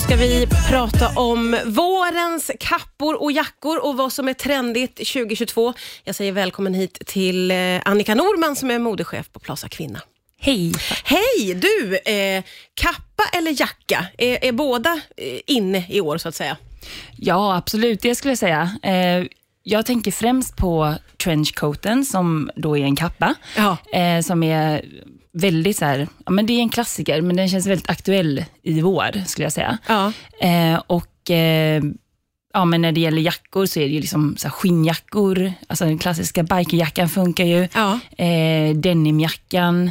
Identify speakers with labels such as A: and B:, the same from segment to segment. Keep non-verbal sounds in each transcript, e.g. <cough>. A: ska vi prata om vårens kappor och jackor och vad som är trendigt 2022. Jag säger välkommen hit till eh, Annika Norman som är modechef på Plaza Kvinna.
B: Hej.
A: Hej! Du, eh, kappa eller jacka? Är, är båda eh, inne i år så att säga?
B: Ja, absolut. Det skulle jag säga. Eh, jag tänker främst på trenchcoaten som då är en kappa.
A: Ja.
B: Eh, som är väldigt så här, ja, men det är en klassiker, men den känns väldigt aktuell i vår, skulle jag säga.
A: Ja.
B: Eh, och eh, ja, men när det gäller jackor så är det ju liksom så här skinnjackor. Alltså den klassiska bikerjackan funkar ju.
A: Ja.
B: Eh, denimjackan.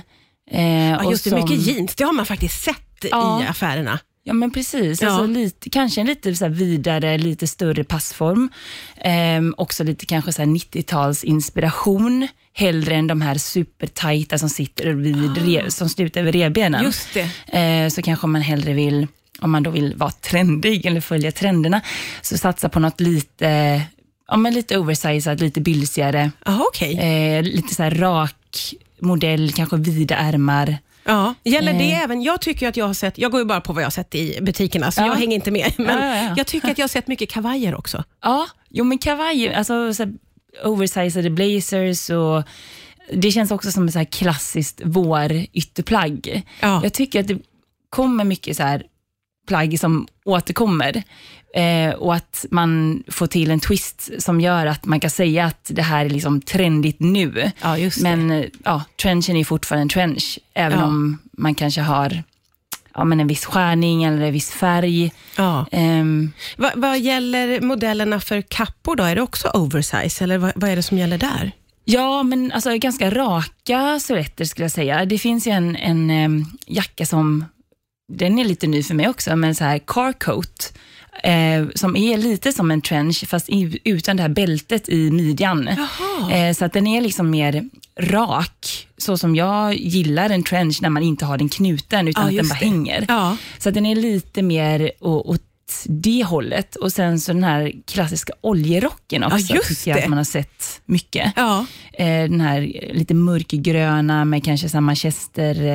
B: Eh,
A: Ja, just det,
B: och som-
A: mycket jeans. Det har man faktiskt sett
B: Ja.
A: i affärerna.
B: Ja, men precis.
A: Ja.
B: Alltså, lite, kanske en lite så här vidare, lite större passform. Ehm, också lite kanske så här 90-talsinspiration, hellre än de här supertajta som sitter vid re, som slutar vid revbenen.
A: Ah. Just det.
B: Ehm, så kanske man hellre vill, om man då vill vara trendig eller följa trenderna, så satsa på något lite, ja, men lite oversized, lite bylsigare,
A: Jaha, okej.
B: eh, lite så här rak modell, kanske vida ärmar.
A: Ja, Eh. gäller det även, jag tycker ju att jag har sett, jag går ju bara på vad jag har sett i butikerna, så
B: Ja.
A: jag hänger inte med. Men
B: Ja, ja, ja.
A: jag tycker att jag har sett mycket kavajer också.
B: Ja, jo men kavajer, alltså så här, oversized blazers och det känns också som ett så här klassiskt vårytterplagg.
A: Ja.
B: Jag tycker att det kommer mycket så här plagg som återkommer eh, och att man får till en twist som gör att man kan säga att det här är liksom trendigt nu.
A: Ja, just det.
B: men eh, ja, trenchen är fortfarande en trench, även
A: Ja.
B: om man kanske har ja, men en viss skärning eller en viss färg.
A: Ja.
B: Ehm,
A: Vad, vad gäller modellerna för kappor då? Är det också oversize eller vad, vad är det som gäller där?
B: Ja, men alltså ganska raka silhuetter skulle jag säga. Det finns ju en, en em, jacka som, den är lite ny för mig också, men så här car coat, eh, som är lite som en trench, fast i, utan det här bältet i midjan.
A: Jaha.
B: Eh, så att den är liksom mer rak, så som jag gillar en trench när man inte har den knuten,
A: Ja,
B: utan att den
A: just
B: bara
A: det.
B: hänger.
A: Ja.
B: Så att den är lite mer å- åt det hållet. Och sen så den här klassiska oljerocken också,
A: just
B: tycker jag
A: det.
B: att man har sett mycket.
A: Ja.
B: Eh, den här lite mörkgröna med kanske så här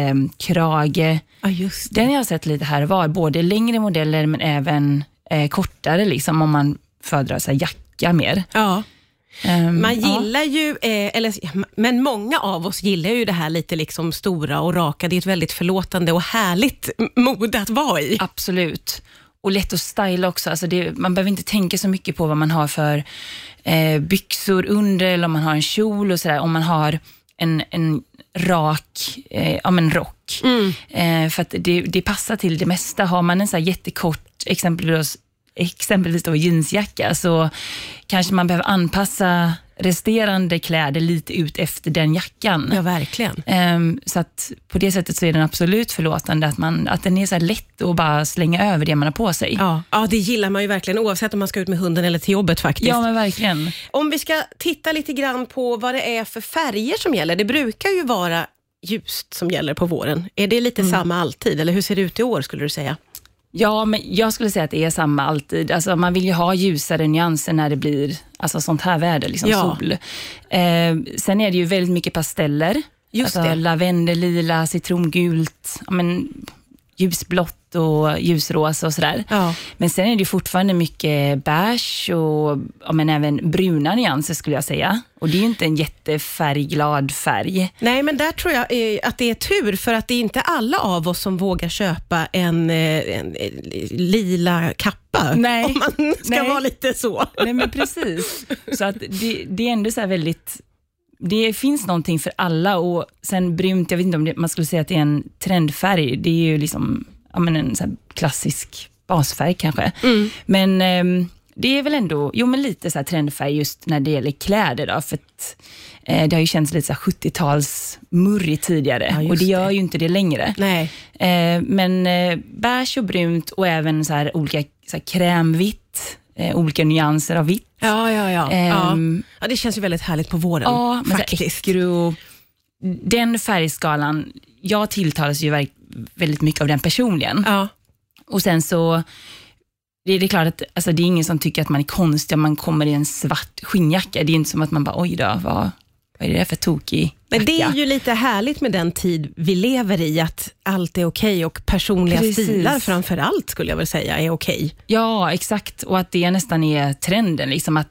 B: manchesterkrage.
A: ja, just det.
B: Den jag har sett lite här och var, både längre modeller men även eh, kortare, liksom, om man föredrar så här jacka mer.
A: Ja.
B: Ehm,
A: Man
B: ja.
A: gillar ju, eh, eller, ja, ma- men många av oss gillar ju det här lite liksom stora och raka. Det är ett väldigt förlåtande och härligt m- mode att vara i.
B: Absolut. Och lätt att styla också. Alltså det, man behöver inte tänka så mycket på vad man har för eh, byxor under eller om man har en kjol och sådär. Om man har en, en rak eh, ja, men rock. Eh, för att det, det passar till det mesta. Har man en så här jättekort, exempelvis, exempelvis då jeansjacka, så kanske man behöver anpassa resterande kläder lite ut efter den jackan.
A: Ja, verkligen.
B: Ehm, så att på det sättet så är den absolut förlåtande, att, man, att den är så här lätt att bara slänga över det man har på sig.
A: Ja. ja, det gillar man ju verkligen oavsett om man ska ut med hunden eller till jobbet faktiskt.
B: Ja, men verkligen.
A: Om vi ska titta lite grann på vad det är för färger som gäller. Det brukar ju vara ljust som gäller på våren. Är det
B: Mm.
A: lite samma alltid, eller hur ser det ut i år skulle du säga?
B: Ja, men jag skulle säga att det är samma alltid. Alltså, man vill ju ha ljusare nyanser när det blir alltså, sånt här väder, liksom
A: Ja.
B: sol. Ehm, sen är det ju väldigt mycket pasteller.
A: Just
B: alltså,
A: det.
B: Lavendel, lila, citrongult, ja, men, ljusblått och ljusrosa och sådär.
A: Ja.
B: Men sen är det ju fortfarande mycket beige och ja, men även bruna nyanser skulle jag säga. Och det är ju inte en jättefärgglad färg.
A: Nej, men där tror jag eh, att det är tur, för att det är inte alla av oss som vågar köpa en, eh, en eh, lila kappa,
B: Nej.
A: om man ska
B: Nej.
A: vara lite så.
B: Nej men precis. Så att det, det är ändå så här väldigt, det finns någonting för alla och sen brunt, jag vet inte om det, man skulle säga att det är en trendfärg, det är ju liksom ja, men en så här klassisk basfärg kanske.
A: Mm.
B: Men ehm, det är väl ändå, jo men lite så här trendfärg just när det gäller kläder då, för att eh, det har ju känts lite så här 70-tals murrigt tidigare
A: Ja, just
B: och det gör
A: det.
B: ju inte det längre.
A: Nej.
B: Eh, men eh, beige och brunt och även så här olika så här krämvitt, eh, olika nyanser av vitt.
A: Ja, ja, ja.
B: Ehm.
A: ja. ja. Det känns ju väldigt härligt på våren,
B: Ja, men så här
A: faktiskt.
B: ekro. Den färgskalan, jag tilltalas ju verk- väldigt mycket av den personligen.
A: Ja.
B: Och sen så, det är det klart att alltså, det är ingen som tycker att man är konstig om man kommer i en svart skinnjacka. Det är inte som att man bara, oj då, vad vad är det för tokig
A: Men det är
B: jacka?
A: ju lite härligt med den tid vi lever i, att allt är okej och personliga
B: Precis.
A: stilar framför allt skulle jag väl säga är okej.
B: Ja, exakt. Och att det nästan är trenden. Liksom att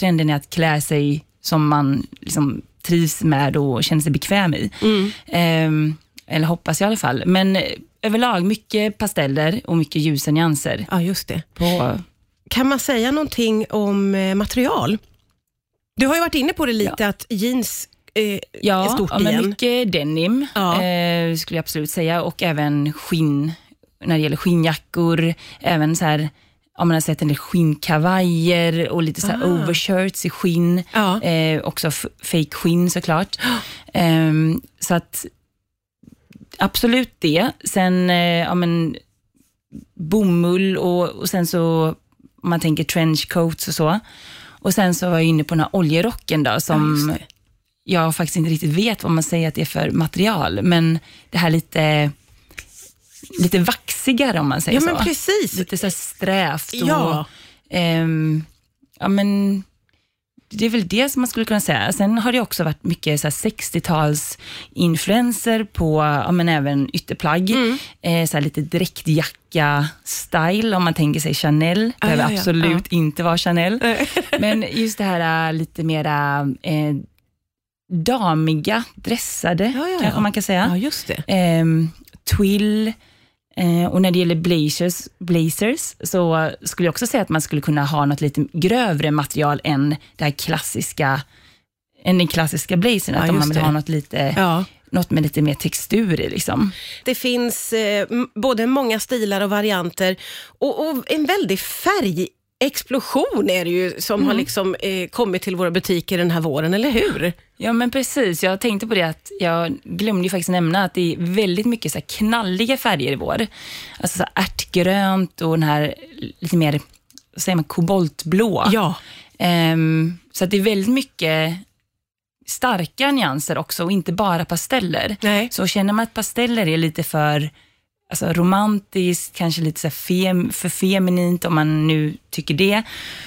B: trenden är att klä sig som man liksom trivs med och känner sig bekväm i.
A: Mm.
B: Ehm, eller hoppas i alla fall. Men eh, överlag mycket pasteller och mycket ljusa nyanser.
A: Ja, just det.
B: På,
A: Kan man säga någonting om eh, material? Du har ju varit inne på det lite, att jeans eh, är
B: ja,
A: stort
B: ja
A: igen.
B: men mycket denim
A: Ja.
B: eh, skulle jag absolut säga. Och även skinn, när det gäller skinnjackor. Även så här, ja, man har sett en del skinnkavajer och lite så här
A: Ah.
B: overshirts i skinn.
A: Ja.
B: Eh, också f- fake skinn såklart. Ehm, så att absolut det. Sen eh, ja, men, bomull och, och sen så om man tänker trenchcoats och så. Och sen så var jag inne på den här oljerocken då som
A: just det.
B: jag faktiskt inte riktigt vet vad man säger att det är för material. Men det här lite, lite vaxigare om man säger
A: ja, men
B: så.
A: precis.
B: Lite så här strävt och
A: Ja.
B: Ehm, ja, men det är väl det som man skulle kunna säga. Sen har det också varit mycket så här 60-tals influenser på ja, men även ytterplagg.
A: Mm.
B: Eh, så här lite dräktjacka-style, om man tänker sig Chanel.
A: Ah,
B: behöver
A: ja, ja,
B: absolut inte vara Chanel.
A: <laughs>
B: men just det här eh, lite mera eh, damiga, dressade,
A: Ja, ja,
B: kanske
A: ja.
B: man kan säga
A: Ja, just det.
B: ehm, twill. Eh, och när det gäller blazers, blazers så skulle jag också säga att man skulle kunna ha något lite grövre material än det här klassiska än den klassiska blazern,
A: Ja,
B: att om man
A: just
B: vill
A: det.
B: ha något, lite,
A: Ja.
B: något med lite mer textur i. Liksom.
A: Det finns eh, m- både många stilar och varianter och, och en väldig färgexplosion är det ju som har liksom, eh, kommit till våra butiker den här våren, eller hur?
B: Ja, men precis. Jag tänkte på det att jag glömde ju faktiskt nämna att det är väldigt mycket så här knalliga färger i vår. Alltså så här ärtgrönt och den här lite mer, vad säger man, koboltblå.
A: Ja.
B: Ehm, så att det är väldigt mycket starka nyanser också och inte bara pasteller.
A: Nej.
B: Så känner man att pasteller är lite för alltså, romantiskt, kanske lite så här fem, för feminint om man nu tycker det,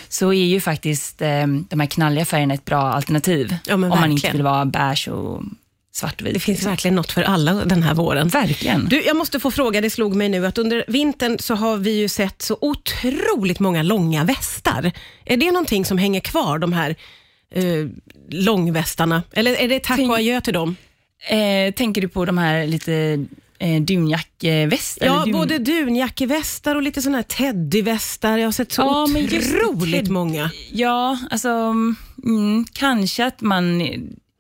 B: så är ju faktiskt ehm, de här knalliga färgerna ett bra alternativ.
A: Ja, men
B: om man inte
A: verkligen.
B: vill vara beige och svartvit.
A: Det finns verkligen något för alla den här våren.
B: Verkligen.
A: Du, jag måste få fråga, det slog mig nu att under vintern så har vi ju sett så otroligt många långa västar. Är det någonting som hänger kvar, de här eh, långvästarna? Eller är det tack
B: Tänk-
A: och adjö till dem?
B: Eh, tänker du på de här lite eh, dunjackvästar?
A: Ja,
B: eller dun-
A: både dunjackevästar och lite sådana här teddyvästar. Jag har sett så
B: Ja, men just
A: otroligt
B: teddy-
A: många.
B: Ja, alltså mm, kanske att man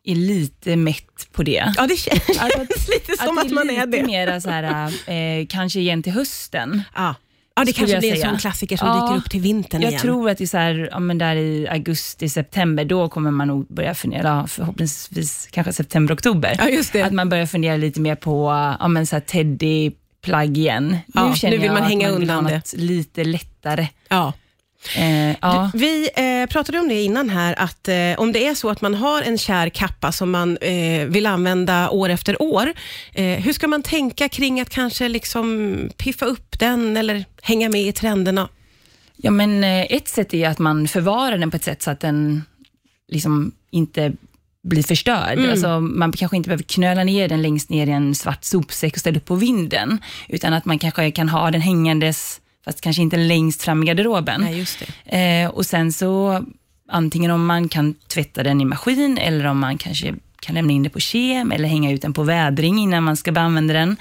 B: är lite mätt på det.
A: Ja, det känns
B: Alltså
A: <laughs>
B: att-
A: lite som att,
B: det
A: man är
B: lite
A: det.
B: Mera så här, eh, kanske igen till hösten.
A: Ja. ja, det
B: skulle
A: kanske
B: jag
A: blir en
B: säga.
A: sån klassiker som
B: Ja,
A: dyker upp till vintern
B: Jag
A: igen.
B: tror att det är så här, ja, men där i augusti, september, då kommer man nog börja fundera, ja, förhoppningsvis kanske september, oktober.
A: Ja, just det.
B: Att man börjar fundera lite mer på ja, men så här teddy plagg igen.
A: Ja,
B: känner
A: nu vill man
B: jag att
A: hänga
B: vill ha
A: undan det.
B: något lite lättare.
A: ja.
B: Eh, ja.
A: Vi eh, pratade om det innan här, att eh, om det är så att man har en kär kappa som man eh, vill använda år efter år, eh, hur ska man tänka kring att kanske liksom piffa upp den eller hänga med i trenderna?
B: Ja, men eh, ett sätt är att man förvarar den på ett sätt så att den liksom inte blir förstörd. Alltså, man kanske inte behöver knöla ner den längst ner i en svart sopsäck och ställa upp på vinden, utan att man kanske kan ha den hängandes, fast kanske inte längst fram i garderoben.
A: just det.
B: Eh, och sen så, antingen om man kan tvätta den i maskin eller om man kanske kan lämna in det på kem eller hänga ut den på vädring innan man ska börja använda den.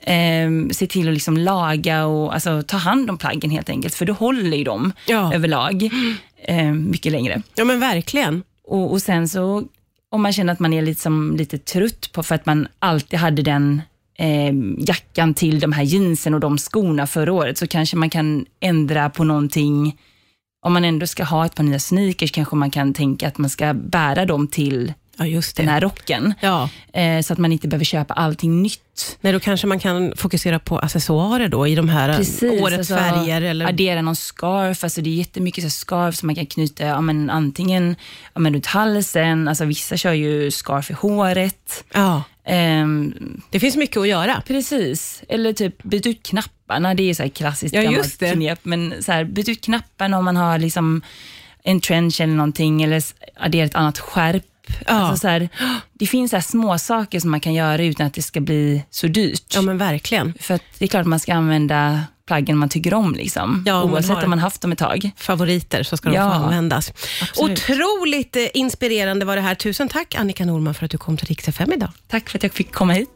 B: Eh, se till att liksom laga och alltså, ta hand om plaggen helt enkelt, för då håller ju de
A: Ja.
B: överlag eh, mycket längre.
A: Ja, men verkligen.
B: Och, och sen så, om man känner att man är liksom lite trött på för att man alltid hade den eh, jackan till de här jeansen och de skorna förra året, så kanske man kan ändra på någonting. Om man ändå ska ha ett par nya sneakers kanske man kan tänka att man ska bära dem till
A: Ja, just
B: den här rocken.
A: Ja.
B: Eh, så att man inte behöver köpa allting nytt.
A: Nej, då kanske man kan fokusera på accessoarer då i de här eh, årets
B: alltså,
A: färger. Eller...
B: Addera någon scarf, alltså det är jättemycket så här scarf som man kan knyta ja, men antingen ja, men runt halsen, alltså vissa kör ju scarf i håret.
A: Ja,
B: Ehm,
A: det finns mycket att göra.
B: precis, eller typ byt ut knapparna. Det är så här klassiskt
A: Ja,
B: gammalt
A: just det.
B: knep. Men så här, byt ut knapparna om man har liksom en trench eller någonting, eller s- addera ett annat skärp
A: Ja.
B: Alltså så här, det finns så här små saker som man kan göra utan att det ska bli så dyrt.
A: Ja, men verkligen.
B: För att det är klart man ska använda plaggen man tycker om, liksom.
A: Ja, om man
B: oavsett
A: har-
B: om man haft dem ett tag.
A: Favoriter, så ska de
B: Ja.
A: få användas.
B: Absolut.
A: Otroligt eh, inspirerande var det här. Tusen tack Annika Norman för att du kom till Rix FM idag.
B: Tack för att jag fick komma hit.